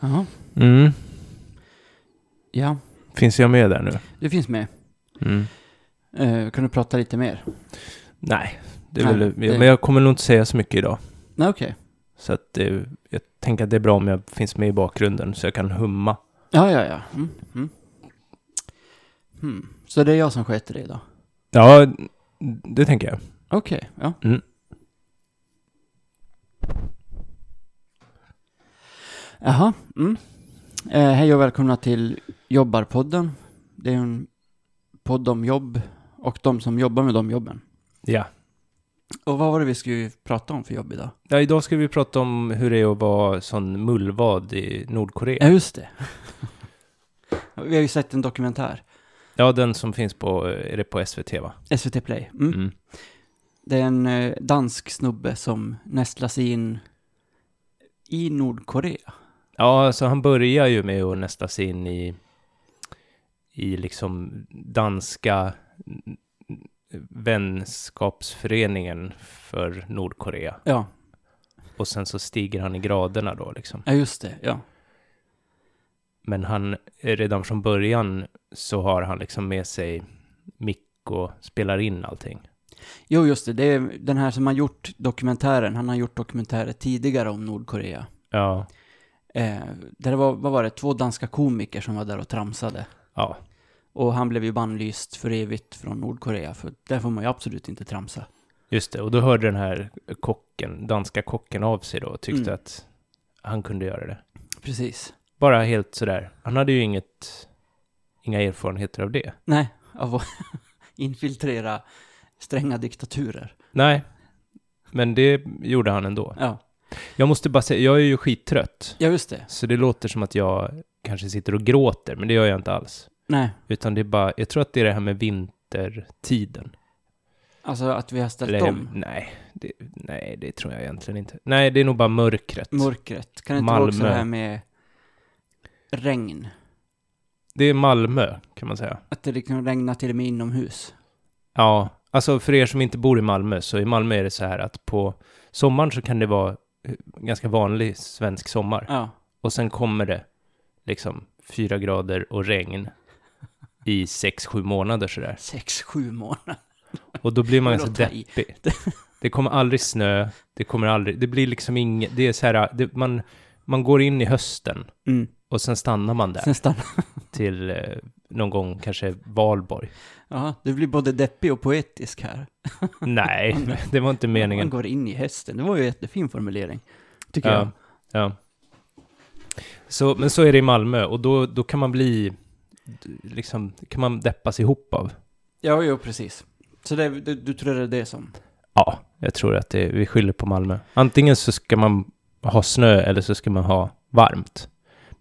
Jaha. Mm. Ja, Finns jag med där nu? du finns med. Mm. Eh, kan du prata lite mer? Nej, det är Nej, väl, det- men jag kommer nog inte säga så mycket idag. Nej, okej. Så att det, jag tänker att det är bra om jag finns med i bakgrunden så jag kan humma. Ja, ja, ja. Mm, mm. Hmm. Så det är jag som sköter det idag? Ja, det tänker jag. Okej, ja. Mm. Jaha, mm. Eh, hej och välkomna till Jobbarpodden. Det är en podd om jobb och de som jobbar med de jobben. Ja. Och vad var det vi skulle prata om för jobb idag? ja. Idag ska vi prata om hur det är att vara sån mullvad i Nordkorea. Ja, just det. vi har ju sett en dokumentär, Ja, den som finns på, är det på SVT va? SVT Play. Mm. Mm. Det är en eh, dansk snubbe som nästlar sig in i Nordkorea. Ja, så han börjar ju med att nästa sig in i, i liksom danska vänskapsföreningen för Nordkorea. Ja, Och sen så stiger han i graderna då liksom. ja just det. Ja. Men han, redan från början så har han liksom med sig mick och spelar in allting. Jo, just det. Det är den här som har gjort dokumentären. Han har gjort dokumentärer tidigare om Nordkorea. Ja, Eh, där det var, vad var det, två danska komiker som var där och tramsade. ja, Och han blev ju bannlyst för evigt från Nordkorea, för där får man ju absolut inte tramsa. just det. Och då hörde den här kocken, danska kocken av sig då och tyckte Mm. att han kunde göra det. Precis. Bara helt sådär. Han hade ju inget, inga erfarenheter av det. Nej, av att infiltrera stränga diktaturer. Nej, men det gjorde han ändå. Ja, Jag måste bara säga, jag är ju skittrött. ja just det. Så det låter som att jag kanske sitter och gråter, men det gör jag inte alls. Nej, Utan det är bara, jag tror att det är det här med vintertiden. alltså att vi har ställt Eller, om nej, det, nej, det tror jag egentligen inte. Nej, det är nog bara mörkret. mörkret. Kan det inte vara också Malmö. det här med regn? det är Malmö, kan man säga. Att det liksom regnar till och med inomhus. Ja, alltså för er som inte bor i Malmö, så i Malmö är det så här att på sommaren så kan det vara eh, ganska vanlig svensk sommar. Ja, Och sen kommer det liksom fyra grader och regn i sex, sju månader sådär. sex, sju månader. Och då blir man Men då ganska ta i. deppig. Det kommer aldrig snö, det kommer aldrig, det blir liksom inget, det är så här, det, man, man går in i hösten Mm. och sen stannar man där Sen stannar till eh, någon gång kanske Valborg. Ja, du blir både deppig och poetisk här. Nej, det var inte Man meningen. går in i hästen. Det var ju en jättefin formulering. Tycker jag. Ja, ja. Så, men så är det i Malmö och då, då kan man bli, liksom, kan man deppas ihop av. Ja, jo, precis. Så det, du, du tror det är det som... Ja, jag tror att det, vi skyller på Malmö. Antingen så ska man ha snö eller så ska man ha varmt.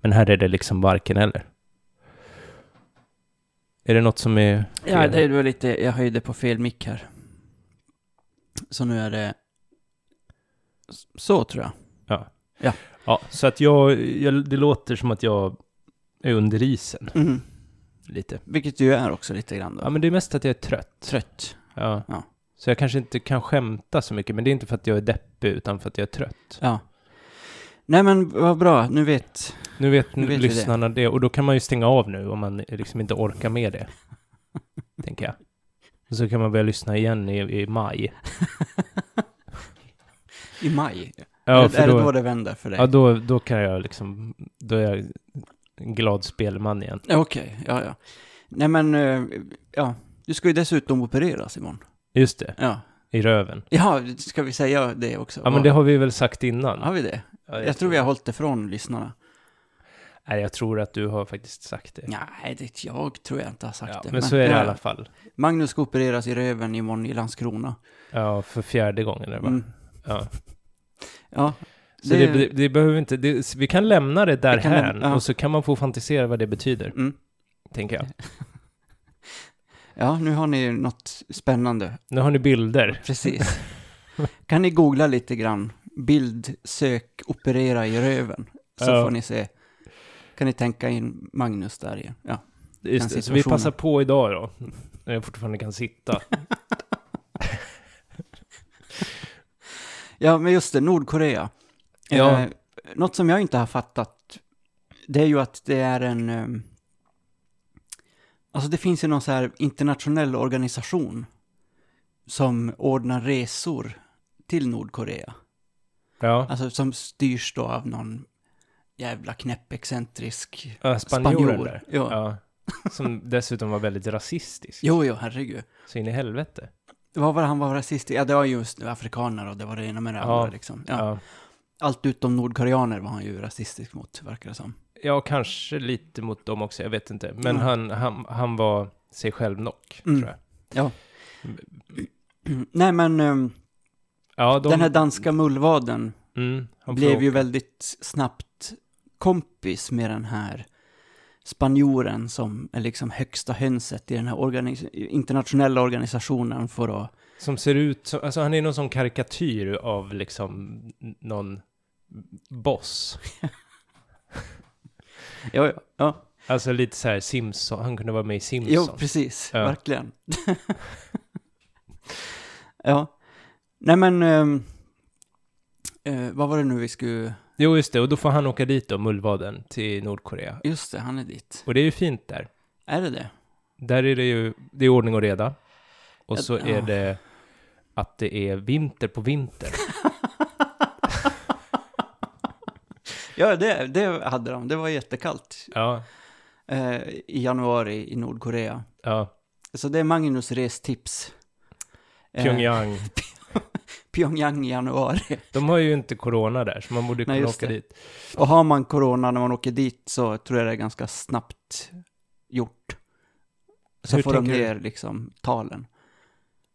Men här är det liksom varken eller. Är det något som är... Ja, det var lite... Jag höjde på fel mick här. Så nu är det... Så tror jag. Ja, så att jag, jag... Det låter som att jag är under isen Mm. lite. Vilket du är också lite grann då. Ja, men det är mest att jag är trött. Trött. Ja. Ja. Så jag kanske inte kan skämta så mycket, men det är inte för att jag är deppig, utan för att jag är trött. Ja. Nej men vad bra, nu vet... Nu vet, Nu vet vi det. lyssnarna det. och då kan man ju stänga av nu om man liksom inte orkar med det. tänker jag. Och så kan man börja lyssna igen i, i maj. I maj. Ja, är, för är det då då, det vänder för dig? ja då, då kan jag liksom, då är jag en glad spelman igen. Ja, Okej, ja ja. Nej men, eh, ja. Du ska ju dessutom opereras imorgon. Just det, Ja. i röven. Ja, ska vi säga det också? Ja, men det har vi väl sagt innan? Har vi det? Ja, Jag tror vi har hållit det från lyssnarna. Nej, jag tror att du har faktiskt sagt det. Nej, det, jag tror jag inte har sagt Ja, det. men så är det i ja. alla fall. Magnus ska opereras i röven imorgon i Landskrona. Ja, för fjärde gången eller vad? Mm. Ja. Ja, Så det, Det- det, behöver inte, det, vi kan lämna det Vi kan därhän lämna- ja. och så kan man få fantisera vad det betyder, mm. tänker jag. ja, nu har ni något spännande. Nu har ni bilder. Precis. kan ni googla lite grann? Bild, sök, operera i röven. Så Ja. får ni se. Kan ni tänka in Magnus där igen? Ja. Just det, så vi situationen. passar på idag då, när jag fortfarande kan sitta. Ja, men just det, Nordkorea. Ja. Eh, något som jag inte har fattat det är ju att det är en... ehm, Alltså det finns ju någon så här internationell organisation som ordnar resor till Nordkorea. Ja, Alltså som styrs då av någon jävla knäpp excentrisk ja spanjor. spanjorer. Ja. Ja. Som dessutom var väldigt rasistisk. Jo, jo, herregud. Så in i helvete. Vad var det han var rasist i? Ja, det var just afrikaner och det var det ena med det andra Ja. liksom. Ja. Ja. Allt utom nordkoreaner var han ju rasistisk mot, verkar det som. ja, kanske lite mot dem också, jag vet inte. Men Mm. han, han, han var sig själv nog, Mm. tror jag. Nej, men ehm, Ja, de, den här danska mullvaden mm, han blev blev ju väldigt snabbt kompis med den här spanjoren som är liksom högsta hönset i den här organis- internationella organisationen för att... Som ser ut som, alltså han är någon sån karikatyr av liksom n- någon boss. Ja, ja, ja. Alltså lite så här Simpson, han kunde vara med i Jo, Simpson. precis. Ja. Verkligen. ja. Nej, men... ehm, eh, vad var det nu vi skulle... Jo, just det, och då får han åka dit då, mullvaden, till Nordkorea. Just det, han är dit. Och det är ju fint där. Är det det? Där är det ju, det är ordning och reda. Och så Ja. är det att det är vinter på vinter. Ja, det, det hade de. Det var jättekallt Ja, eh, i januari i Nordkorea. ja. Så det är Magnus restips. Eh, Pyongyang. Pyongyang i januari. De har ju inte corona där, så man borde kunna Nej, just åka det. dit. Och har man corona när man åker dit så tror jag det är ganska snabbt gjort. Så Hur får de tänker du? ner liksom talen.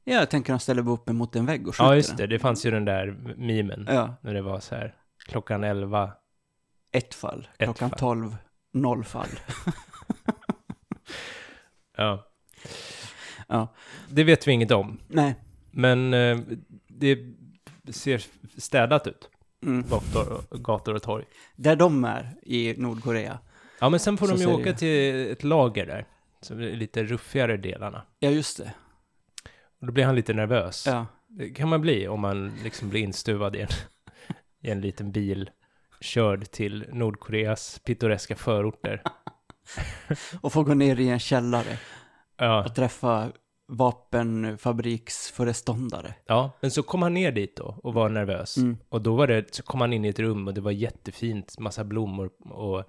Ja, jag tänker att de ställer upp emot en vägg och skjuter Ja, just den. det. Det fanns ju den där mimen. Ja, När det var så här, klockan 11. ett fall. Ett Klockan fall. tolv, noll fall. Ja. Ja. Det vet vi inget om. Nej. Men eh, det ser städat ut, Mm. gator och, gator och torg. Där de är i Nordkorea. Ja, men sen får Så de ju ser åka det. till ett lager där. Så det är lite ruffigare delarna. Ja, just det. Och då blir han lite nervös. Ja. Det kan man bli om man liksom blir instuvad i en, i en liten bil körd till Nordkoreas pittoreska förorter. Och får gå ner i en källare Ja, och träffa vapenfabriksföreståndare. ja, men så kom han ner dit då och var nervös. Mm. Och då var det, så kom han in i ett rum och det var jättefint, massa blommor och,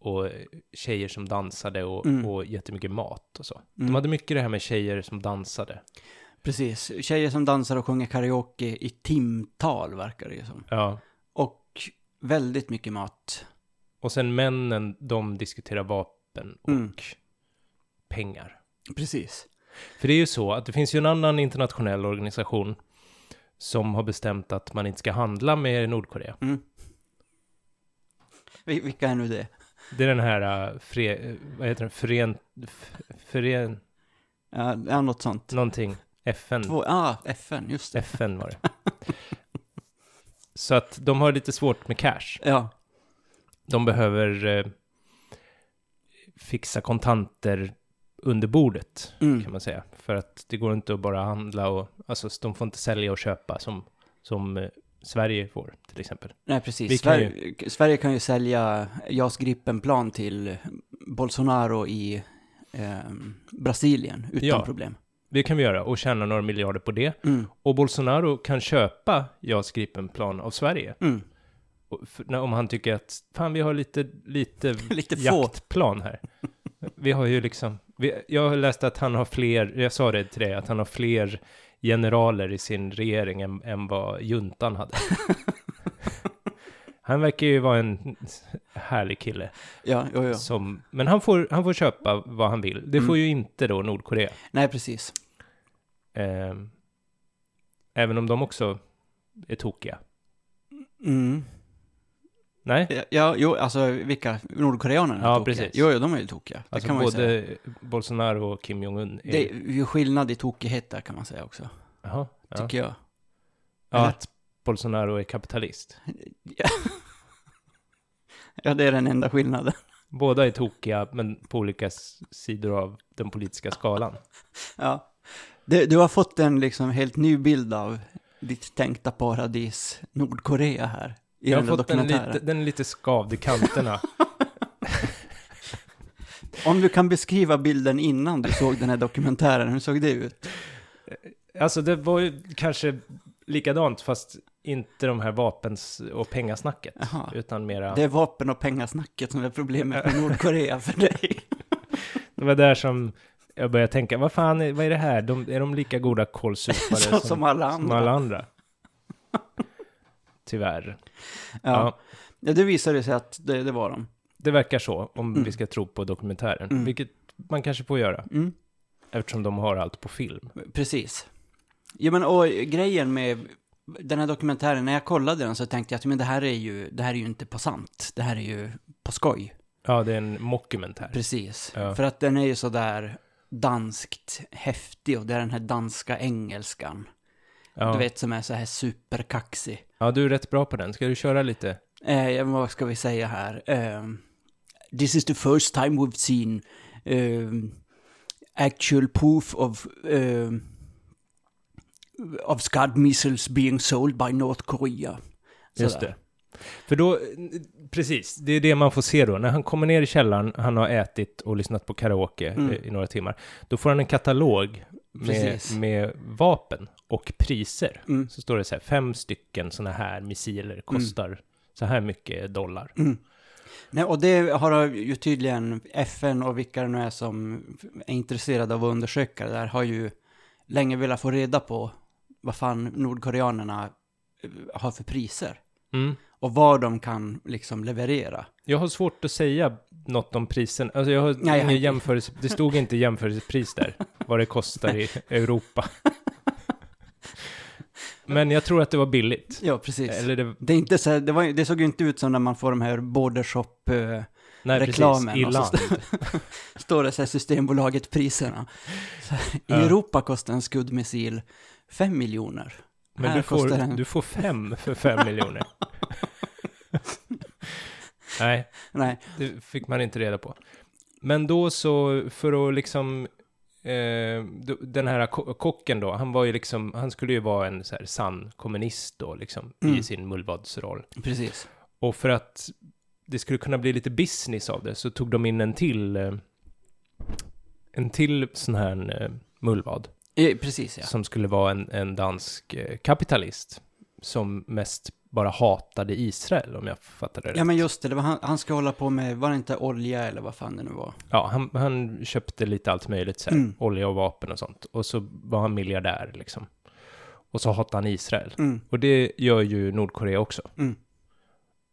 och tjejer som dansade och, Mm. och jättemycket mat och så. De Mm. hade mycket det här med tjejer som dansade. Precis. Tjejer som dansar och sjunger karaoke i timtal, verkar det ju som. Ja. Och väldigt mycket mat. Och sen männen, de diskuterar vapen och Mm. pengar. Precis. För det är ju så att det finns ju en annan internationell organisation som har bestämt att man inte ska handla med Nordkorea. Mm. Vil- Vilka är nu det? Det är den här, uh, fre, eh, vad heter den, fören, f- fören, Ja, det är något sånt. någonting, FN, Två, ah, FN, just det. FN var det. Så att de har lite svårt med cash. Ja, De behöver eh, fixa kontanter under bordet, kan mm. man säga. För att det går inte att bara handla och, alltså de får inte sälja och köpa som, som eh, Sverige får, till exempel. nej precis. Vi kan ju- Sverige, Sverige kan ju sälja JAS Gripen-plan till Bolsonaro i ehm, Brasilien utan Ja. problem. Det kan vi göra och tjäna några miljarder på det. Mm. Och Bolsonaro kan köpa JAS Gripen-plan av Sverige. Mm. Och för, när, om han tycker att fan, vi har lite, lite, Lite få. jaktplan här. Vi har ju liksom, vi, jag har läst att han har fler, jag sa det till dig, att han har fler generaler i sin regering än, än vad juntan hade. han verkar ju vara en härlig kille. Ja, jo, jo. Som, men han får, han får köpa vad han vill. Det får Mm. ju inte då Nordkorea. Nej, precis. Eh, även om de också är tokiga. Mm. Nej, Ja, Ja, jo, alltså vilka? Nordkoreanerna är Ja, tokiga. precis. Jo, jo, de är ju tokiga. Det alltså kan man ju säga. både Bolsonaro och Kim Jong-Un är... Det är ju skillnad i tokighet där kan man säga också, Jaha, ja. tycker jag. ja, eller? att Bolsonaro är kapitalist. Ja, det är den enda skillnaden. Båda är tokiga, men på olika s- sidor av den politiska skalan. Ja. Du, du har fått en liksom helt ny bild av ditt tänkta paradis Nordkorea här. I Jag den har där fått den dokumentären. lite, den är lite skavd i kanterna. Om du kan beskriva bilden innan du såg den här dokumentären, hur såg det ut? Alltså det var ju kanske likadant, fast inte de här vapens och pengasnacket. Jaha. Utan mera... Det är vapen och pengasnacket som är problemet med Nordkorea för dig. Det var där som jag började tänka, vad fan, är- vad är det här? De, är de lika goda kålsupare Så- som alla som andra. alla andra? Tyvärr. Ja. Ja. ja, det visade sig att det, det var de. det verkar så, om Mm. vi ska tro på dokumentären. Mm. Vilket man kanske får göra, Mm. eftersom de har allt på film. Precis. Ja, men och grejen med den här dokumentären, när jag kollade den så tänkte jag att men det, här är ju, det här är ju inte på sant, det här är ju på skoj. Ja, det är en mockumentär. Precis. Ja. För att den är ju sådär danskt häftig och det är den här danska engelskan. Ja. Du Du, vet som är så här superkaxig. ja, du är rätt bra på den. Ska du köra lite? Eh, ja, men vad ska vi säga här? Ehm, this is the first time we've seen ehm, actual proof of ehm, of Scud missiles being sold by North Korea. Just det. För då, precis, det är det man får se då. När han kommer ner i källaren, han har ätit och lyssnat på karaoke Mm. eh, i några timmar, då får han en katalog med, Precis. med vapen och priser. Mm. Så står det så här, fem stycken sådana här missiler kostar Mm. så här mycket dollar. Nej, och det har ju tydligen FN och vilka det nu är som är intresserade av att undersöka det där har ju länge velat få reda på vad fan nordkoreanerna eh, har för priser Mm. och vad de kan liksom leverera. Jag har svårt att säga något om prisen. Alltså jag har Nej, ingen jag- jämförelse, det stod inte jämförelsepris där, vad det kostar i Europa. Men jag tror att det var billigt. Ja, precis. Eller det, Det, är inte så här, det, var, det såg ju inte ut som när man får de här bordershop, eh, nej, Reklamen alltså. precis, i och så- land. står det så här Systembolaget-priserna. Så här, I Ja. Europa kostar en skuddmissil 5 miljoner. Men Här du kostar den. får, du får fem för fem miljoner. Nej, Nej, det fick man inte reda på. Men då så, för att liksom, eh, då- den här ko- kocken då, han var ju liksom, han skulle ju vara en så här sann kommunist då, liksom, Mm. i sin mullvadsroll. precis. Och för att det skulle kunna bli lite business av det så tog de in en till, eh, en till sån här eh, mullvad Eh, precis, ja. som skulle vara en, en dansk eh, kapitalist som mest bara hatade Israel om jag fattade det Ja, rätt. men just det, det var han, han ska hålla på med, var det inte olja eller vad fan det nu var? Ja, han, han köpte lite allt möjligt, så här, Mm. olja och vapen och sånt. Och så var han miljardär liksom. Och så hatade han Israel. Mm, Och det gör ju Nordkorea också. mm,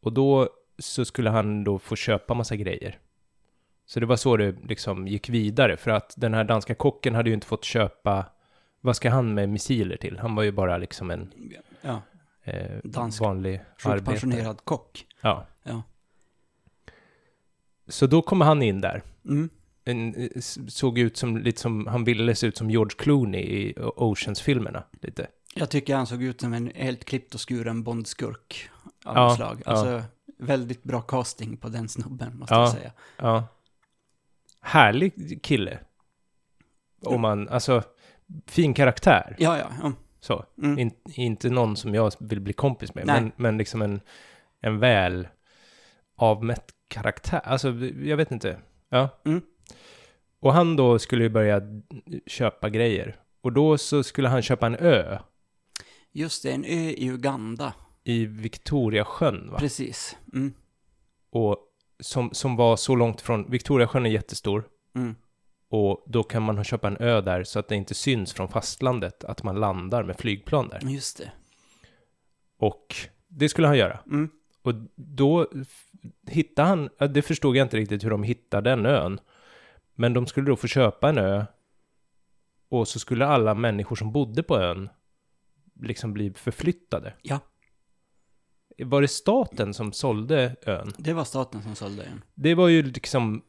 Och då så skulle han då få köpa massa grejer. Så det var så det liksom gick vidare, för att den här danska kocken hade ju inte fått köpa, vad ska han med missiler till? Han var ju bara liksom en ja. eh, Dansk vanlig arbetare. Sjukpensionerad kock. Ja. Ja. Så då kommer han in där. Mm, En, eh, s- såg ut som, lite som, han ville se ut som George Clooney i O- Oceans-filmerna, lite. jag tycker han såg ut som en helt klippt och skuren Bondskurk av Ja, något slag. ja. Alltså, väldigt bra casting på den snubben, måste Ja. jag säga. Ja. Härlig kille. Om man, alltså, fin karaktär. Ja, ja. ja. Så. Mm. In, inte någon som jag vill bli kompis med, Nej. men, men liksom en, en väl avmätt karaktär. Alltså, jag vet inte. Ja. Mm. Och han då skulle ju börja köpa grejer. Och då så skulle han köpa en ö Just det, en ö i Uganda. i Victoriasjön, va? Precis. Mm. Och som, som var så långt från... Victoriasjön är jättestor. Mm. Och då kan man ha- köpa en ö där så att det inte syns från fastlandet att man landar med flygplan där. Just det. Och det skulle han göra. Mm. Och då f- hittade han, ja, det förstod jag inte riktigt hur de hittade den ön. Men de skulle då få köpa en ö. Och så skulle alla människor som bodde på ön liksom bli förflyttade. Ja. Var det staten som sålde ön? Det var staten som sålde den. Det var ju liksom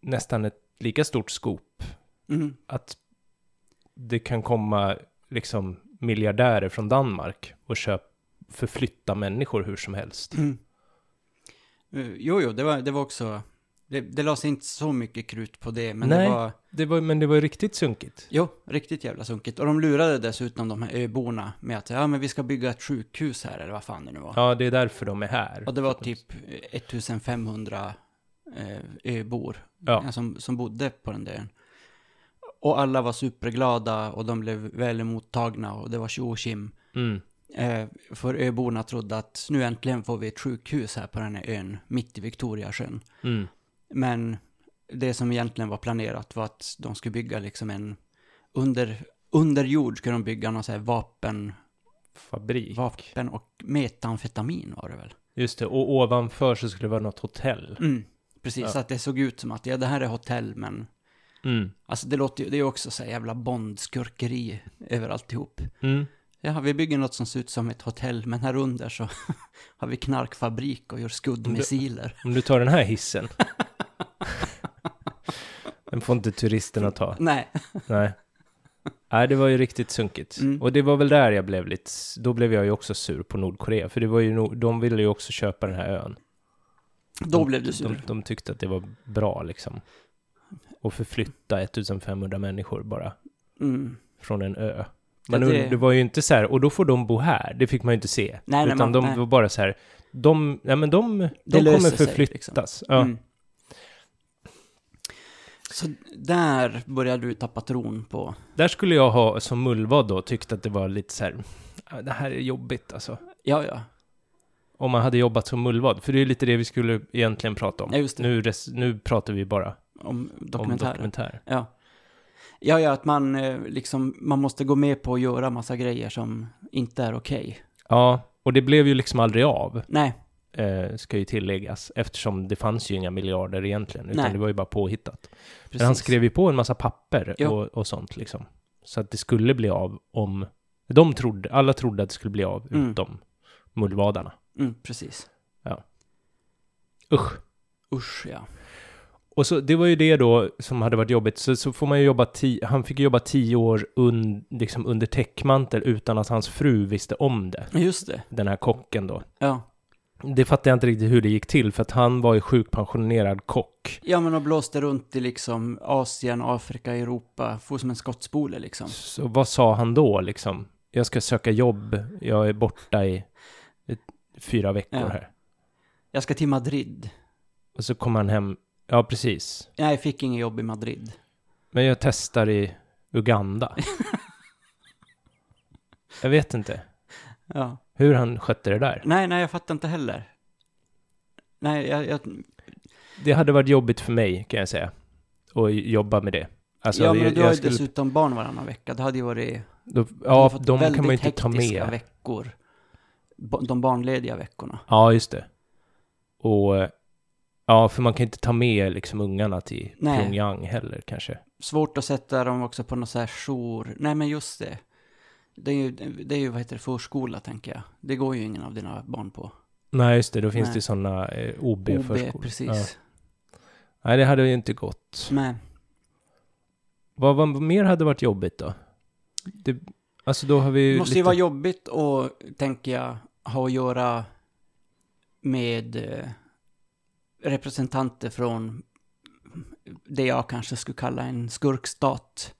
nästan ett lika stort skop. Mm. Att det kan komma liksom miljardärer från Danmark och köp, förflytta människor hur som helst. Mm. Eh, Jo, jo, det var, det var också... Det, det lades inte så mycket krut på det, men Nej. det var... Det var, men det var ju riktigt sunkigt. Jo, riktigt jävla sunkigt. Och de lurade dessutom de här öborna med att ja, men vi ska bygga ett sjukhus här, eller vad fan det nu var. Ja, det är därför de är här. Och det var typ eh, 1500 eh, öbor Ja. eh, som, som bodde på den där ön. Och alla var superglada och de blev väl emottagna och det var tjo och tjim. Mm. Eh, för öborna trodde att nu äntligen får vi ett sjukhus här på den här ön, mitt i Victoriasjön. Mm. Men det som egentligen var planerat var att de skulle bygga liksom en... Under, under jord skulle de bygga någon så här vapen, Fabrik. vapen och metamfetamin var det väl? Just det, och ovanför så skulle det vara något hotell. Mm, precis, Ja. så att det såg ut som att ja, det här är hotell, men... Mm. Alltså det låter ju, det är ju också så här jävla bondskurkeri över alltihop. Mm. Ja, vi bygger något som ser ut som ett hotell, men här under så har vi knarkfabrik och gör skuddmissiler. Om du tar den här hissen. den får inte turisterna ta. Nej. Nej. Nej, det var ju riktigt sunkigt. Mm. Och det var väl där jag blev lite... Då blev jag ju också sur på Nordkorea. För det var ju... no- De ville ju också köpa den här ön. Då de, blev du sur. De, de tyckte att det var bra liksom. Och förflytta 1500 människor bara Mm. från en ö. Men Ja, det... det- var ju inte så här, och då får de bo här. Det fick man ju inte se. Nej, nej, Utan man- de nej. var bara så här, de, ja, men de, de löser kommer sig, förflyttas. Ja. Mm. Så där började du tappa tron på... Där skulle jag ha, som mullvad då, tyckt att det var lite så här, "Ja, det här är jobbigt alltså. Ja, ja. Om man hade jobbat som mullvad, för det är lite det vi skulle egentligen prata om. Ja, just det. Nu, res, nu pratar vi bara Om om dokumentärer. dokumentär. Ja. ja, ja, att man eh, liksom... Man måste gå med på att göra massa grejer som inte är okej. Ja, och det blev ju liksom aldrig av, Nej, eh, ska ju tilläggas, eftersom det fanns ju inga miljarder egentligen, utan Nej. det var ju bara påhittat. precis. Men han skrev ju på en massa papper Ja. och, och sånt liksom. Så att det skulle bli av om... De trodde, alla trodde att det skulle bli av Mm. utom mullvadarna. Mm, precis. Usch. Usch, ja. Och så, det var ju det då som hade varit jobbigt. Så, så får man ju jobba ti, han fick ju jobba tio år un, liksom under täckmantel utan att hans fru visste om det. Just det. Den här kocken då. Ja. Det fattar jag inte riktigt hur det gick till för att han var ju sjukpensionerad kock. Ja, men de blåste runt i liksom Asien, Afrika, Europa. For som en skottspole liksom. Så vad sa han då liksom? Jag ska söka jobb, jag är borta i eh, fyra veckor Ja. här. Jag ska till Madrid. Och så kom han hem. Ja, precis. Nej, jag fick inget jobb i Madrid. Men jag testar i Uganda. jag vet inte Ja. hur han skötte det där. Nej, nej, jag fattar inte heller. Nej, jag... jag Det hade varit jobbigt för mig, kan jag säga. Att jobba med det. Alltså, ja, men jag, du har jag ju skulle, dessutom barn varannan vecka. Det hade ju varit... då, du har ja, fått de kan väldigt man ju inte ta hektiska med. veckor. Ba- De barnlediga veckorna. Ja, just det. Och eh, ja, för man kan inte ta med liksom ungarna till Nej. Pyongyang heller kanske. Svårt att sätta dem också på något så här jour. Nej, men just det. Det är ju, det är ju vad heter det, förskola, tänker jag. Det går ju ingen av dina barn på. Nej, just det. Då finns Nej. det sådana eh, OB, OB-förskolor. Ja. precis. Nej, det hade ju inte gått. Nej. Vad, vad mer hade varit jobbigt då? Det, alltså då har vi Det ju måste ju lite... vara jobbigt och, tänker jag, ha att göra med eh, representanter från det jag kanske skulle kalla en skurkstat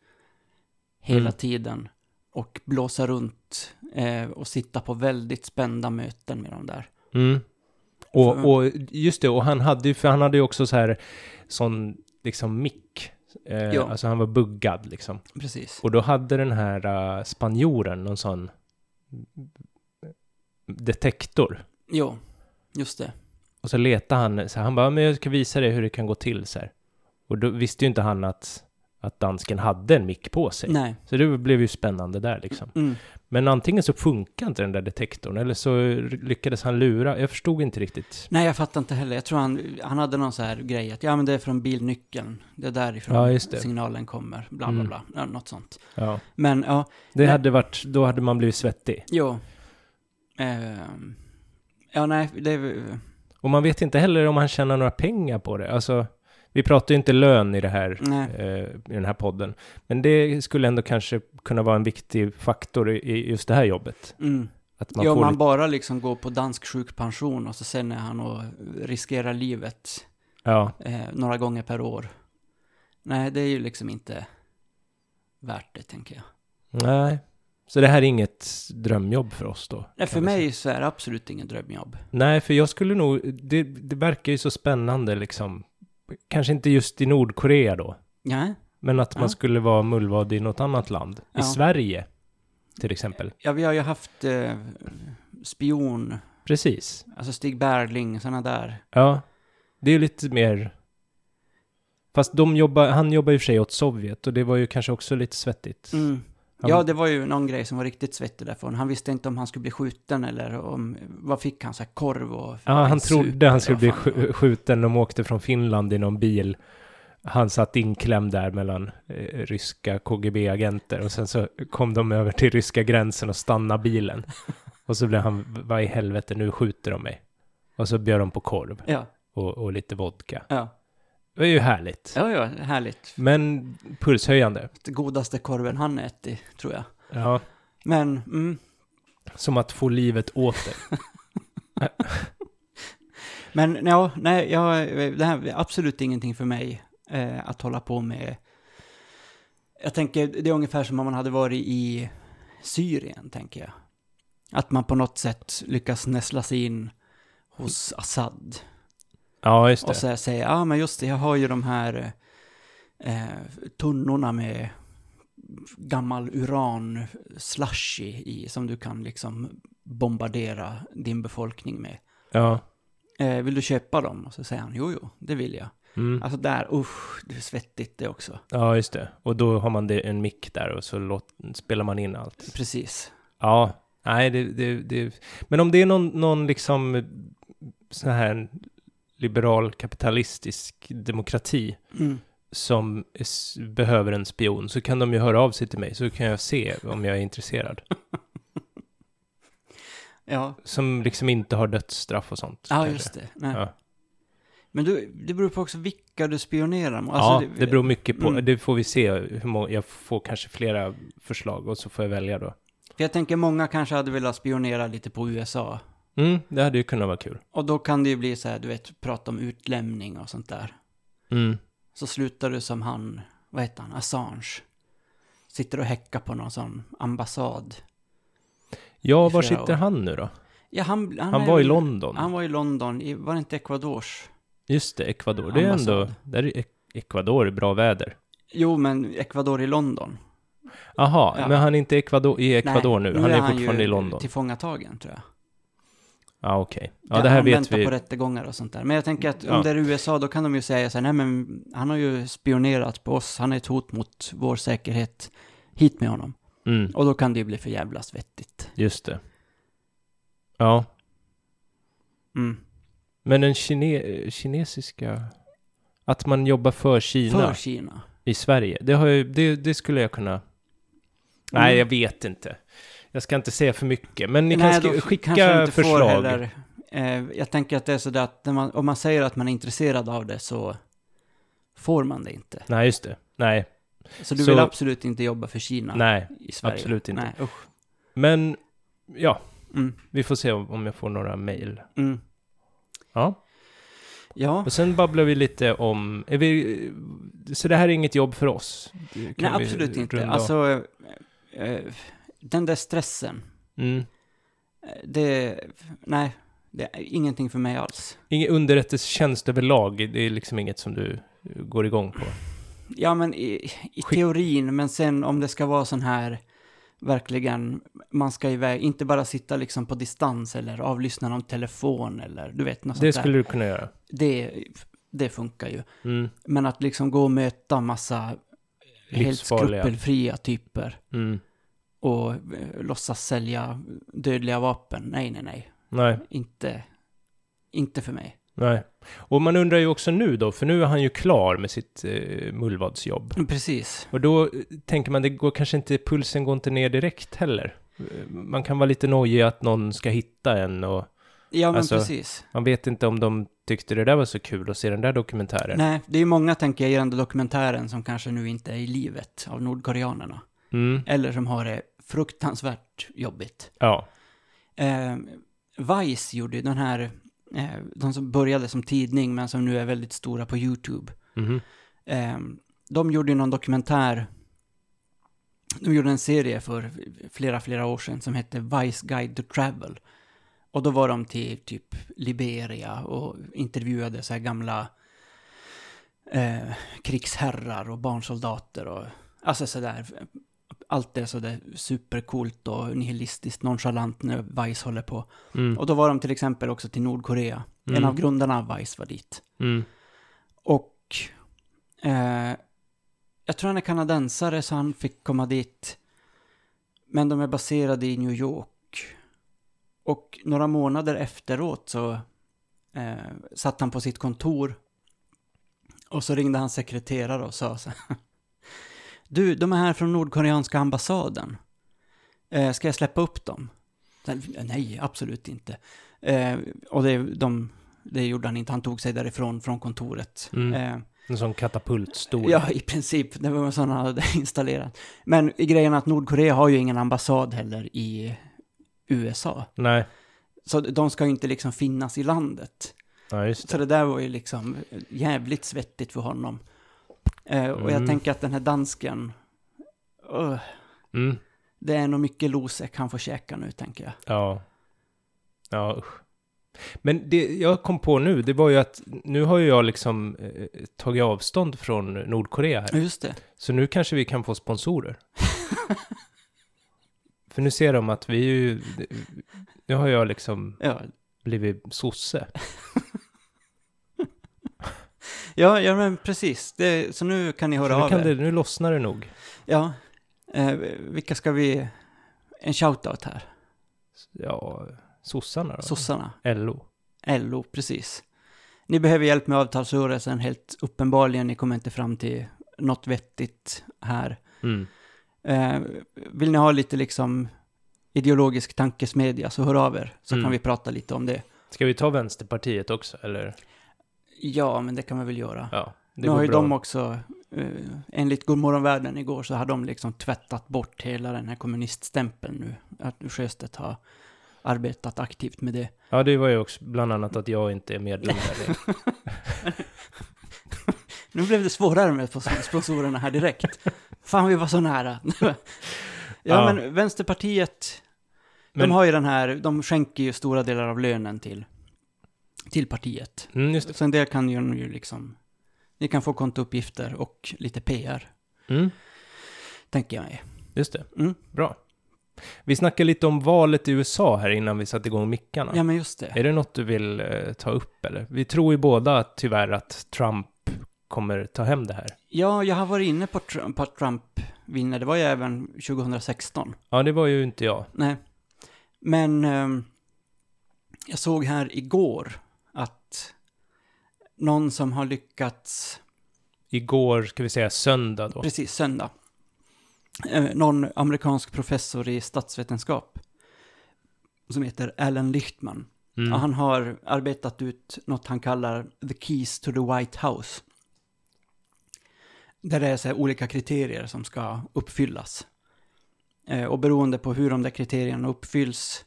hela Mm. tiden. Och blåsa runt eh, och sitta på väldigt spända möten med de där. Mm. Och, För- och just det, och han hade ju, för han hade ju också så här, sån liksom mick. Eh, Ja. Alltså han var buggad liksom. Precis. Och då hade den här eh, spanjoren någon sån detektor. Jo, just det. Och så letade han, så han bara, men jag ska visa dig hur det kan gå till så här. Och då visste ju inte han att, att dansken hade en mick på sig. Nej. Så det blev ju spännande där liksom. Mm. Men antingen så funkar inte den där detektorn eller så lyckades han lura. Jag förstod inte riktigt. Nej, jag fattar inte heller. Jag tror han, han hade någon så här grej att ja, men det är från bilnyckeln. Det är därifrån Ja, just det. signalen kommer. Bla, bla, Mm. bla. Ja, något sånt. Ja. Men ja, Det Nej. hade varit, då hade man blivit svettig. jo. Ehm, ja, nej, det... Och man vet inte heller om han tjänar några pengar på det. Alltså, vi pratar ju inte lön i, det här, Nej. eh, i den här podden. Men det skulle ändå kanske kunna vara en viktig faktor i, i just det här jobbet. Mm. Att Man man ja, får man lite, bara liksom går på dansk sjukpension och så sen är han och riskerar livet ja, eh, några gånger per år. Nej, det är ju liksom inte värt det, tänker jag. nej. Så det här är inget drömjobb för oss då? Nej, för kan man säga. mig så är det absolut ingen drömjobb. Nej, för jag skulle nog, det, det verkar ju så spännande liksom kanske inte just i Nordkorea då, Nej, men att Ja. man skulle vara mullvad i något annat land. Ja. I Sverige, till exempel. ja, vi har ju haft eh, spion, Precis. alltså Stig Berling, sådana där. Ja. Det är lite mer... Fast de jobbar, han jobbar i och för sig åt Sovjet och det var ju kanske också lite svettigt. Mm. Han- Ja, det var ju någon grej som var riktigt svettig därifrån. Han visste inte om han skulle bli skjuten eller om, vad fick han, så här korv och... Ja, han sup eller trodde han vad skulle bli fan. sk- skjuten. De åkte från Finland i någon bil. Han satt inklämd där mellan eh, ryska KGB-agenter och sen så kom de över till ryska gränsen och stannade bilen. Och så blev han, vad i helvete, nu skjuter de mig. Och så bjöd de på korv Ja, och, och lite vodka. ja. Det var ju härligt. Ja, ja, härligt. Men pulshöjande. Det godaste korven han ätit, tror jag. Ja, Men, mm. som att få livet åter. Men ja, nej, jag, det här är absolut ingenting för mig eh, att hålla på med. Jag tänker, det är ungefär som om man hade varit i Syrien, tänker jag. Att man på något sätt lyckas näsla sig in hos Assad. Ja, just Och det. så här säger, ja ah, men just det, jag har ju de här eh, eh, tunnorna med gammal uran slushy i som du kan liksom bombardera din befolkning med. Ja. Eh, vill du köpa dem? Och så säger han, jo jo, det vill jag. Mm. Alltså där, usch, det är svettigt det också. ja, just det. Och då har man det, en mick där och så låt, spelar man in allt. Precis. Ja, nej, det, det, det... Men om det är någon, någon liksom sån här liberal kapitalistisk demokrati Mm. som s- behöver en spion så kan de ju höra av sig till mig så kan jag se om jag är intresserad. Ja, Som liksom inte har dödsstraff och sånt. ja kanske. just det. Nej. Ja. Men du, det beror på också vilka du spionerar mot. Alltså ja, det, beror mycket på. Mm. Det får vi se. Hur må... Jag får kanske flera förslag och så får jag välja då. För jag tänker många kanske hade velat spionera lite på USA. Mm, det hade ju kunnat vara kul. Och då kan det ju bli så här, du vet, prata om utlämning och sånt där. Mm. Så slutar du som han, vad heter han, Assange. Sitter och häckar på någon sån ambassad. Ja, I var flera sitter år. han nu då? Ja, han, han, Han är var i väl- London. Han var i London, i, var det inte Ecuadors? Just det, Ecuador. Det är Ambassad. ändå, där är Ek- Ecuador är bra väder. Jo, men Ecuador i London. Aha, Ja. men han är inte Ecuador, i Ecuador Nej, nu. Han är, ju typ- fortfarande i London. tillfångatagen tror jag. Ja, okej. Ja, det här han vet väntar på vi. rättegångar och sånt där. Men jag tänker att om Ja. det är USA, då kan de ju säga så här, nej men han har ju spionerat på oss, han är ett hot mot vår säkerhet, hit med honom. Mm, Och då kan det ju bli för jävla svettigt. just det. Ja, Mm. men den kine kinesiska... Att man jobbar för Kina För Kina. i Sverige, det, har jag, det, det skulle jag kunna... Nej, jag vet inte. Jag ska inte säga för mycket, men ni Mm. Nej, kan då sk- kanske jag skicka inte får förslag. heller. Eh, jag tänker att det är så där att när man, om man säger att man är intresserad av det så får man det inte. Nej, just det. Nej, Så du Så- vill absolut inte jobba för Kina nej. i Sverige? absolut inte. Nej, usch. Men, ja, Mm, vi får se om om jag får några mejl. mm. Ja. Ja. Och sen babblar vi lite om, är vi, så det här är inget jobb för oss? Det kan Nej, vi absolut inte. runda av. Alltså, eh, eh, den där stressen, Mm. eh, det, nej, det är ingenting för mig alls. Ingen underrättelsetjänst överlag, det är liksom inget som du går igång på. Alltså, Ja, men i, i Skick- teorin, men sen om det ska vara sån här, verkligen, man ska iväg, inte bara sitta liksom på distans eller avlyssna någon telefon eller du vet, något sånt Det där. skulle du kunna göra. Det, det funkar ju. Mm. Men att liksom gå och möta massa helt Livsfarliga. skrupelfria typer Mm. och eh, låtsas sälja dödliga vapen, nej, nej, nej. Nej, inte, inte för mig. nej. Och man undrar ju också nu då, för nu är han ju klar med sitt eh, mullvadsjobb. Precis. Och då eh, tänker man, det går kanske inte, pulsen går inte ner direkt heller. Eh, Man kan vara lite nojig att någon ska hitta en och Ja, men Alltså, precis. man vet inte om de tyckte det där var så kul att se den där dokumentären. Nej, det är många, tänker jag, i den där dokumentären som kanske nu inte är i livet av nordkoreanerna. Mm. Eller som har det fruktansvärt jobbigt. Ja. Eh, Vice gjorde ju den här, eh, de som började som tidning men som nu är väldigt stora på YouTube. Mhm. Eh, de gjorde ju någon dokumentär, de gjorde en serie för flera, flera år sedan som hette Vice Guide to Travel. Och då var de till typ Liberia och intervjuade så här gamla eh, krigsherrar och barnsoldater och alltså sådär. Allt är sådär supercoolt och nihilistiskt nonchalant när Vice håller på. Mm. Och då var de till exempel också till Nordkorea. En Mm. av grundarna av Vice var dit. Mm. Och eh, jag tror han är kanadensare så han fick komma dit. Men de är baserade i New York. Och några månader efteråt så eh, satt han på sitt kontor. Och så ringde hans sekreterare och sa så här. Du, de är här från Nordkoreanska ambassaden. Eh, ska jag släppa upp dem? Sen, Nej, absolut inte. Eh, och det, de, det gjorde han inte. Han tog sig därifrån, från kontoret. Mm. Eh, En sån katapultstol. Ja, i princip. Det var sådana han hade installerat. Men grejen är att Nordkorea har ju ingen ambassad heller i USA. Nej, Så de ska ju inte liksom finnas i landet. ja, just det. Så det där var ju liksom jävligt svettigt för honom. Eh, och jag Mm. tänker att den här dansken, öh, Mm. det är nog mycket Losek han får käka nu, tänker jag. Ja. Ja, usch. Men det jag kom på nu, det var ju att nu har ju jag liksom eh, tagit avstånd från Nordkorea här. Ja, Just det. Så nu kanske vi kan få sponsorer. För nu ser de att vi är ju... Nu har jag liksom Ja, blivit sosse. ja, ja men precis. Det, så nu kan ni höra Så nu, av kan er. det, nu lossnar det nog. Ja. Eh, vilka ska vi... En shoutout här. Ja, sossarna då? Sossarna. LO. LO, precis. Ni behöver hjälp med avtalsrörelsen, helt uppenbarligen. Ni kommer inte fram till något vettigt här. Mm. Eh, vill ni ha lite liksom ideologisk tankesmedja så hör av er, så Mm. kan vi prata lite om det. Ska vi ta Vänsterpartiet också, eller? Ja, men det kan vi väl göra. Ja, det nu har går ju bra. de också, eh, enligt Godmorgonvärlden igår, så har de liksom tvättat bort hela den här kommuniststämpeln nu. Att Sjöstedt har arbetat aktivt med det. Ja, det var ju också bland annat att jag inte är medlem där. längre. Nu blev det svårare med spons- sponsorerna här direkt. Fan, vi var så nära. ja, Ja. men Vänsterpartiet, Men- de har ju den här, de skänker ju stora delar av lönen till, till partiet. Mm, just Så en del kan ju, ju liksom, ni kan få kontouppgifter och lite PR, det. Mm, tänker jag mig. just det. Mm. Bra. Vi snackade lite om valet i USA här innan vi satte igång mickarna. Ja, men just det. Är det något du vill eh, ta upp, eller? Vi tror ju båda att, tyvärr att Trump kommer ta hem det här. Ja, jag har varit inne på, Trump, på att Trump vinner, det var ju även 2016. Ja, det var ju inte jag. Nej. Men ehm, jag såg här igår att någon som har lyckats, Igår, ska vi säga söndag då. precis söndag, eh, någon amerikansk professor i statsvetenskap som heter Alan Lichtman. Mm. Och han har arbetat ut något han kallar The Keys to the White House. Där det är så här olika kriterier som ska uppfyllas. Eh, och beroende på hur de där kriterierna uppfylls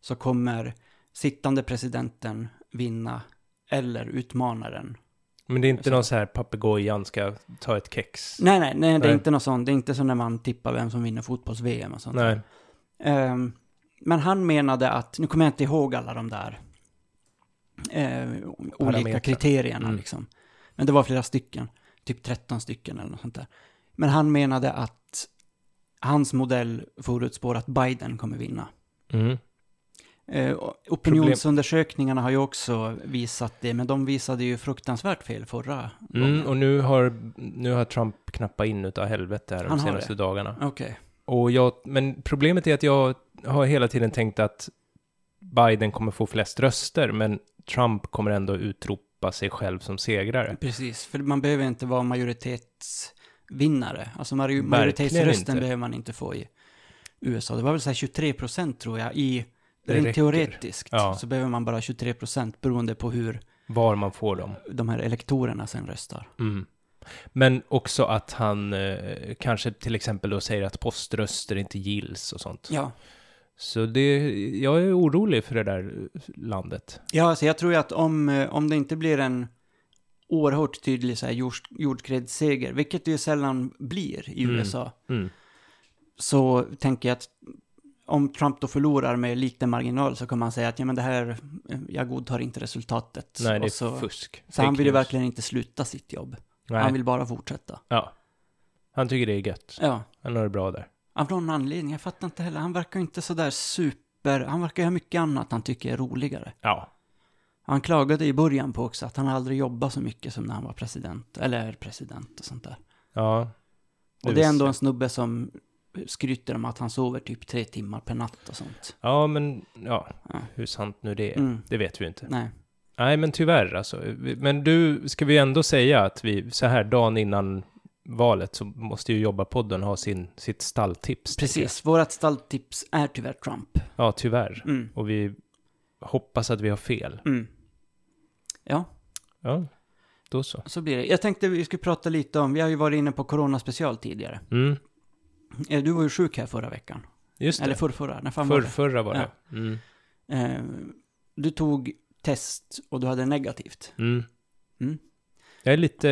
så kommer sittande presidenten vinna eller utmanaren. Men det är inte någon så här papegojan ska ta ett kex. Nej, nej, nej, det är Nej. inte något sånt. Det är inte som när man tippar vem som vinner fotbolls-VM och sånt. Nej. Ehm, men han menade att, nu kommer jag inte ihåg alla de där eh, olika Parametrar. kriterierna Mm. liksom. Men det var flera stycken, typ 13 stycken eller något sånt där. Men han menade att hans modell förutspår att Biden kommer vinna. Mm. Eh, och opinionsundersökningarna har ju också visat det, men de visade ju fruktansvärt fel förra Mm, gången. och nu har, nu har Trump knappat in utav helvete här Han de har senaste dagarna. Okej. Och jag, men problemet är att jag har hela tiden tänkt att Biden kommer få flest röster, men Trump kommer ändå utropa sig själv som segrare. Precis, för man behöver inte vara majoritetsvinnare. Alltså maj- Verkligen inte. majoritetsrösten behöver man inte få i USA. Det var väl så här 23 procent tror jag i... Det Rent räcker. teoretiskt Ja. så behöver man bara 23 procent beroende på hur Var man får dem. de här elektorerna sen röstar. Mm. Men också att han eh, kanske till exempel då säger att poströster inte gills och sånt. Ja, Så det, jag är orolig för det där eh, landet. ja alltså jag tror ju att om, eh, om det inte blir en oerhört tydlig så här jord, jordskredsseger, vilket det ju sällan blir i Mm. USA, Mm. så tänker jag att om Trump då förlorar med liten marginal så kommer han säga att ja, men det här, eh, jag godtar inte resultatet. Nej, det är Och så, fusk. så han Fake vill ju news. verkligen inte sluta sitt jobb. Nej. Han vill bara fortsätta. Ja. Han tycker det är gött. Ja. Han har det bra där. Av någon anledning, jag fattar inte heller. Han verkar ju inte sådär super... Han verkar ju ha mycket annat han tycker är roligare. Ja. Han klagade i början på också att han aldrig jobbat så mycket som när han var president. Eller är president och sånt där. Ja. Och det är ändå en snubbe som skryter om att han sover typ tre timmar per natt och sånt. Ja, men ja. Ja. Hur sant nu det är. Mm. Det vet vi inte. Nej. Nej, men tyvärr alltså. Vi- Men du, ska vi ändå säga att vi, så här dagen innan valet, så måste ju jobbarpodden ha sin, sitt stalltips. tycker Precis, vårat stalltips är tyvärr Trump. jag. Ja, tyvärr. Mm. Och vi hoppas att vi har fel. Mm. Ja, Ja, då så. så blir det. Jag tänkte vi skulle prata lite om, vi har ju varit inne på coronaspecial tidigare. Mm, Eh, Du var ju sjuk här förra veckan. just Eller det. förrförra, när fan För, var det? förra var det. Mm, Eh, Du tog test och du hade negativt. mm. Mm. Jag är lite,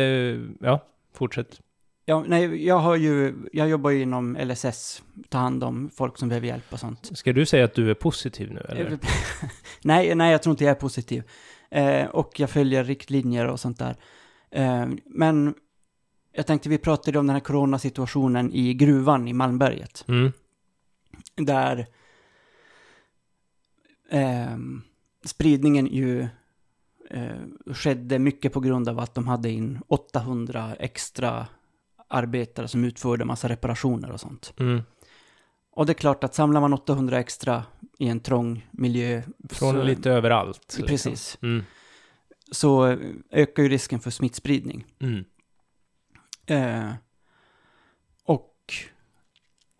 ja, fortsätt. Ja, nej, jag har ju, jag jobbar ju inom LSS, tar hand om folk som behöver hjälp och sånt. Ska du säga att du är positiv nu eller? nej, nej, jag tror inte jag är positiv. Eh, och jag följer riktlinjer och sånt där. Eh, men jag tänkte, vi pratade om den här coronasituationen i gruvan i Malmberget. Mm, Där eh, spridningen ju eh, skedde mycket på grund av att de hade in 800 extra arbetare som utförde massa reparationer och sånt. mm. Och det är klart att samlar man 800 extra i en trång miljö Från så- lite överallt. liksom. Precis. Mm, så eh, ökar ju risken för smittspridning. mm, Eh, och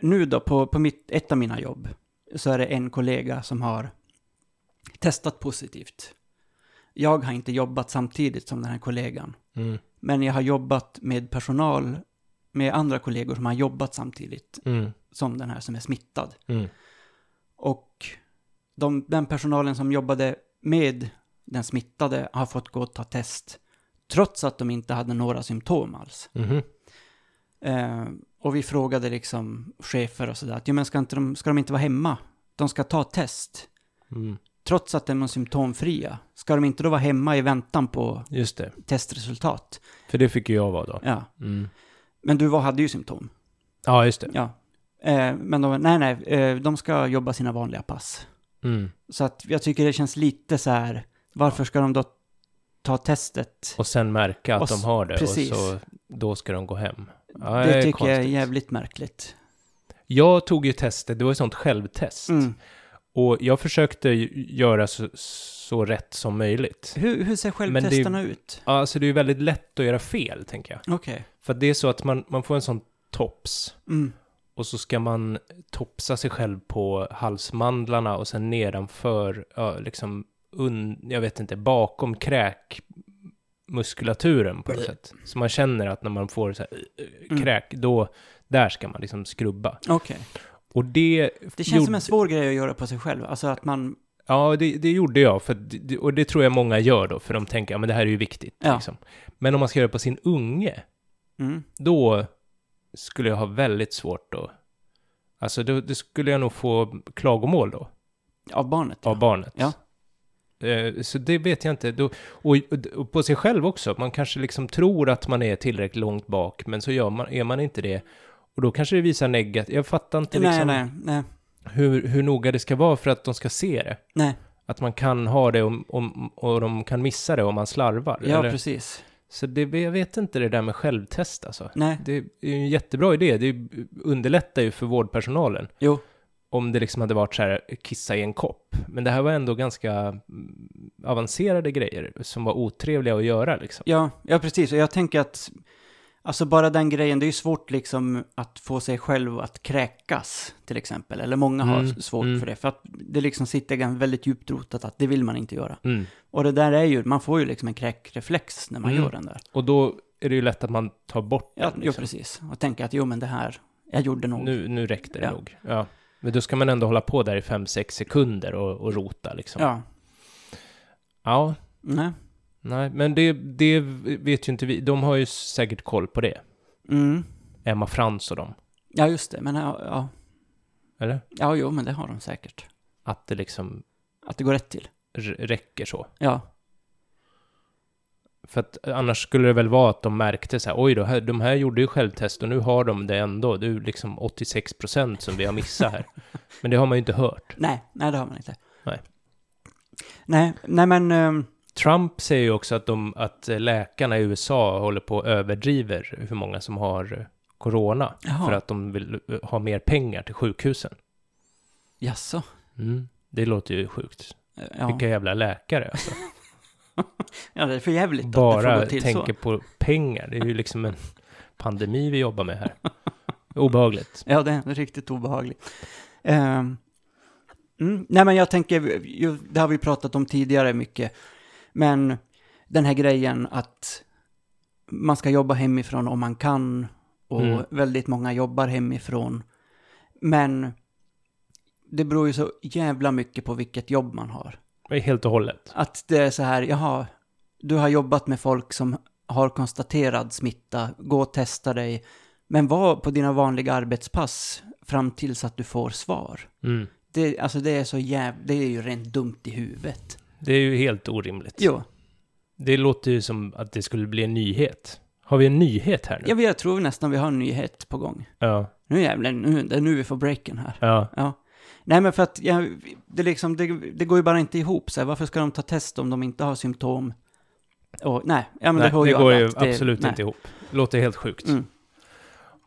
nu då, på, på mitt, ett av mina jobb, så är det en kollega som har testat positivt. Jag har inte jobbat samtidigt som den här kollegan, mm, men jag har jobbat med personal, med andra kollegor som har jobbat samtidigt mm, som den här som är smittad. mm, Och de, den personalen som jobbade med den smittade har fått gå och ta test trots att de inte hade några symptom alls. mhm, Eh, och vi frågade liksom chefer och sådär att jo, men ska, inte de, ska de inte vara hemma? De ska ta test. mm. Trots att de är symptomfria, ska de inte då vara hemma i väntan på Just det. testresultat? För det fick ju jag vara då. Ja, Mm. men du var, hade ju symptom. Ja, just det. Ja. Eh, men de, nej, nej, eh, de ska jobba sina vanliga pass. Mm. Så att jag tycker det känns lite så här, varför ska de då ta testet? Och sen märka att Och s- de har det precis. och så då ska de gå hem. Ja, det är tycker jag är konstigt. jävligt märkligt. Jag tog ju testet, det var ju sånt självtest. Mm. Och jag försökte ju göra så, så rätt som möjligt. Hur, hur ser självtesterna ut? Ja, Alltså det är ju väldigt lätt att göra fel, tänker jag. Okej. För att det är så att man, man får en sån tops. Mm. Och så ska man topsa sig själv på halsmandlarna och sen nedanför, ja, liksom, un, jag vet inte, bakom kräkmuskulaturen på något sätt. Så man känner att när man får så här, eh, eh, Mm. kräk, då, där ska man liksom skrubba. Okej. Och det... Det känns som en svår grej att göra på sig själv. Alltså att man, Ja, det, det gjorde jag, för, att det- och det tror jag många gör då, för de tänker, ja men det här är ju viktigt. Ja. Liksom. Men om man ska göra det på sin unge, mm. då skulle jag ha väldigt svårt då. Alltså, då, det skulle jag nog få klagomål då. av barnet. av barnet. Ja. Eh, Så det vet jag inte. Då- Och och på sig själv också. Man kanske liksom tror att man är tillräckligt långt bak, men så gör man, är man inte det. Och då kanske det visar negativt. Jag fattar inte nej, liksom nej, nej, Hur, hur noga det ska vara för att de ska se det. nej. Att man kan ha det om, om, och de kan missa det om man slarvar. Ja, eller? precis. Så det, jag vet inte det där med självtest alltså. Nej, Det är ju en jättebra idé. Det underlättar ju för vårdpersonalen jo. om det liksom hade varit så här kissa i en kopp. Men det här var ändå ganska mm, avancerade grejer som var otrevliga att göra liksom. Ja, ja, precis. Och jag tänker att, alltså bara den grejen, det är ju svårt liksom att få sig själv att kräkas, till exempel. Eller många har Mm, svårt mm. för det. För att det liksom sitter gan- väldigt djupt rotat att det vill man inte göra. Mm. Och det där är ju, man får ju liksom en kräkreflex när man Mm. gör den där. Och då är det ju lätt att man tar bort Ja, den. jo, Liksom. precis. Och tänka att jo, men det här, jag gjorde nog. Nu, nu räckte det Ja. nog. Ja. Men då ska man ändå hålla på där i 5-6 sekunder och, och rota liksom. Ja, ja. nej. Nej, men det, det vet ju inte vi. De har ju säkert koll på det. Mm. Emma Frans och dem. Ja, just det. Men ja, ja, Eller? ja, jo, men det har de säkert. Att det liksom Att det går rätt till. r- räcker så. Ja. För att annars skulle det väl vara att de märkte så här, oj då, här, de här gjorde ju självtest och nu har de det ändå. Det är ju liksom 86% som vi har missat här. Men det har man ju inte hört. Nej, nej det har man inte. Nej. Nej, nej men... ehm, Trump säger ju också att, de, att eh, läkarna i USA håller på och överdriver hur många som har eh, corona. Jaha. För att de vill eh, ha mer pengar till sjukhusen. jaså? Eh, Mm. Det låter ju sjukt. Ja. Vilka jävla läkare alltså. ja, det är för jävligt att det får Bara gå till tänker så. på pengar. Det är ju liksom en pandemi vi jobbar med här. Obehagligt. Ja, det är riktigt obehagligt. Ehm, mm, nej, men jag tänker, ju- det har vi pratat om tidigare mycket, men den här grejen att man ska jobba hemifrån om man kan och Mm. väldigt många jobbar hemifrån. Men det beror ju så jävla mycket på vilket jobb man har. Helt och hållet. Att det är så här, jaha, du har jobbat med folk som har konstaterad smitta, gå och testa dig, men var på dina vanliga arbetspass fram tills att du får svar. Mm. Det, alltså det är så jäv... det är ju rent dumt i huvudet. Det är ju helt orimligt. Jo, Det låter ju som att det skulle bli en nyhet. Har vi en nyhet här nu? jag, jag tror nästan vi har en nyhet på gång. Ja. Nu jävlar, nu, det är nu vi får breaken här. Ja. Ja. Nej men för att, jag, det, liksom, det, det går ju bara inte ihop så här, varför ska de ta test om de inte har symptom? Och, nej, ja, men Nej, det, har det ju går alla ju att det- absolut nej. inte ihop. Låter helt sjukt. Mm.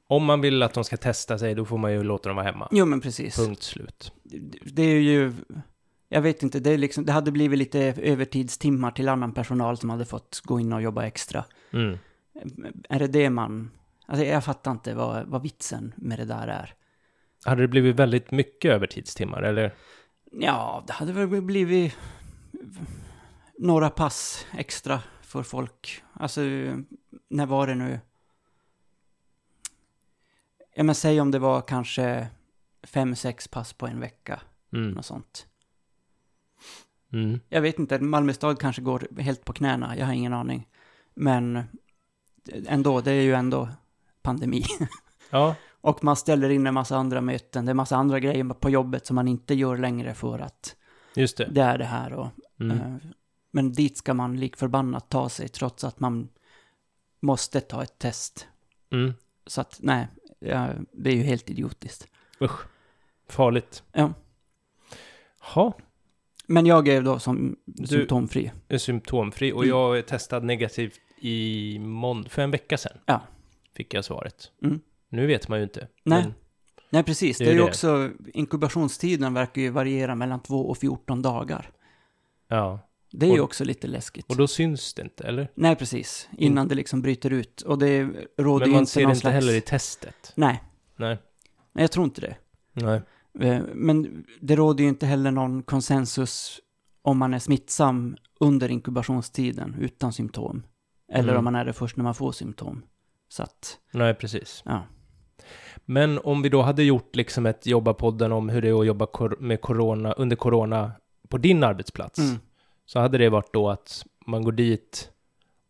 Om man vill att de ska testa sig, då får man ju låta dem vara hemma. Jo men precis. Punkt slut. det- det är ju, jag vet inte, det, är liksom, det hade blivit lite övertidstimmar till annan personal som hade fått gå in och jobba extra. Mm. Är det det man, alltså jag fattar inte vad, vad vitsen med det där är. Hade det blivit väldigt mycket övertidstimmar, eller? Ja, det hade väl blivit några pass extra för folk. Alltså, när var det nu? Ja, men säg om det var kanske fem, sex pass på en vecka, Mm. något sånt. Mm. Jag vet inte, Malmö stad kanske går helt på knäna, jag har ingen aning. Men ändå, det är ju ändå pandemi. Ja, Och man ställer in en massa andra möten, det är massa andra grejer på jobbet som man inte gör längre för att just det. det är det här. Och, Mm. eh, men dit ska man lik förbannat ta sig trots att man måste ta ett test. Mm. Så att nej, ja, det är ju helt idiotiskt. Usch. Farligt. Ja. Ja, Men jag är då som Du- symptomfri. är symptomfri och Mm. jag är testad negativt i månd- för en vecka sedan. Ja. Fick jag svaret. Mm. Nu vet man ju inte. Nej. Men, Nej, precis. Det Det är är, ju det. också, inkubationstiden verkar ju variera mellan 2 och 14 dagar. ja. Det är ju Och- också lite läskigt. Och då syns det inte, eller? Nej, precis. Innan det liksom bryter ut. Och det råder Men ju man inte ser det någon inte slags... heller i testet. Nej, Nej. nej, jag tror inte det. Nej. Eh, Men det råder ju inte heller någon konsensus om man är smittsam under inkubationstiden utan symptom. Eller Mm. om man är det först när man får symptom. Så att, Nej, precis. ja. Men om vi då hade gjort liksom ett jobba-podden om hur det är att jobba kor- med corona, under corona på din arbetsplats. Mm. Så hade det varit då att man går dit,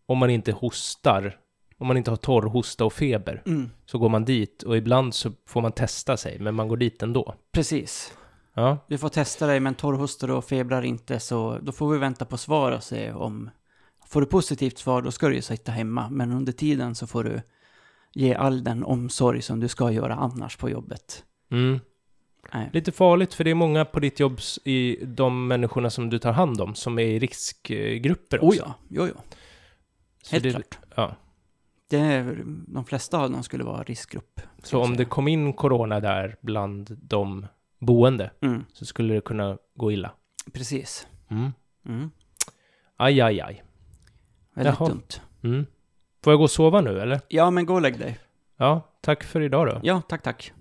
om man inte hostar, om man inte har torr hosta och feber, Mm. så går man dit och ibland så får man testa sig, men man går dit ändå. Precis. Ja, Du får testa dig, men torrhostar och febrar inte, så då får vi vänta på svar och se om... Får du positivt svar, då ska du ju sitta hemma, men under tiden så får du ge all den omsorg som du ska göra annars på jobbet. mm. Nej. Lite farligt, för det är många på ditt jobb, s- i de människorna som du tar hand om, som är i riskgrupper också. Oh ja, jo, jo, Så helt det- klart. Ja. Det är, de flesta av dem skulle vara riskgrupp. Så om det kom in corona där bland de boende, Mm, så skulle det kunna gå illa. precis. Mm. Mm. Aj, aj, aj. Väldigt Jaha. dumt. Mm. Får jag gå och sova nu, eller? Ja, men gå och lägg dig. Ja, tack för idag då. Ja, tack, tack.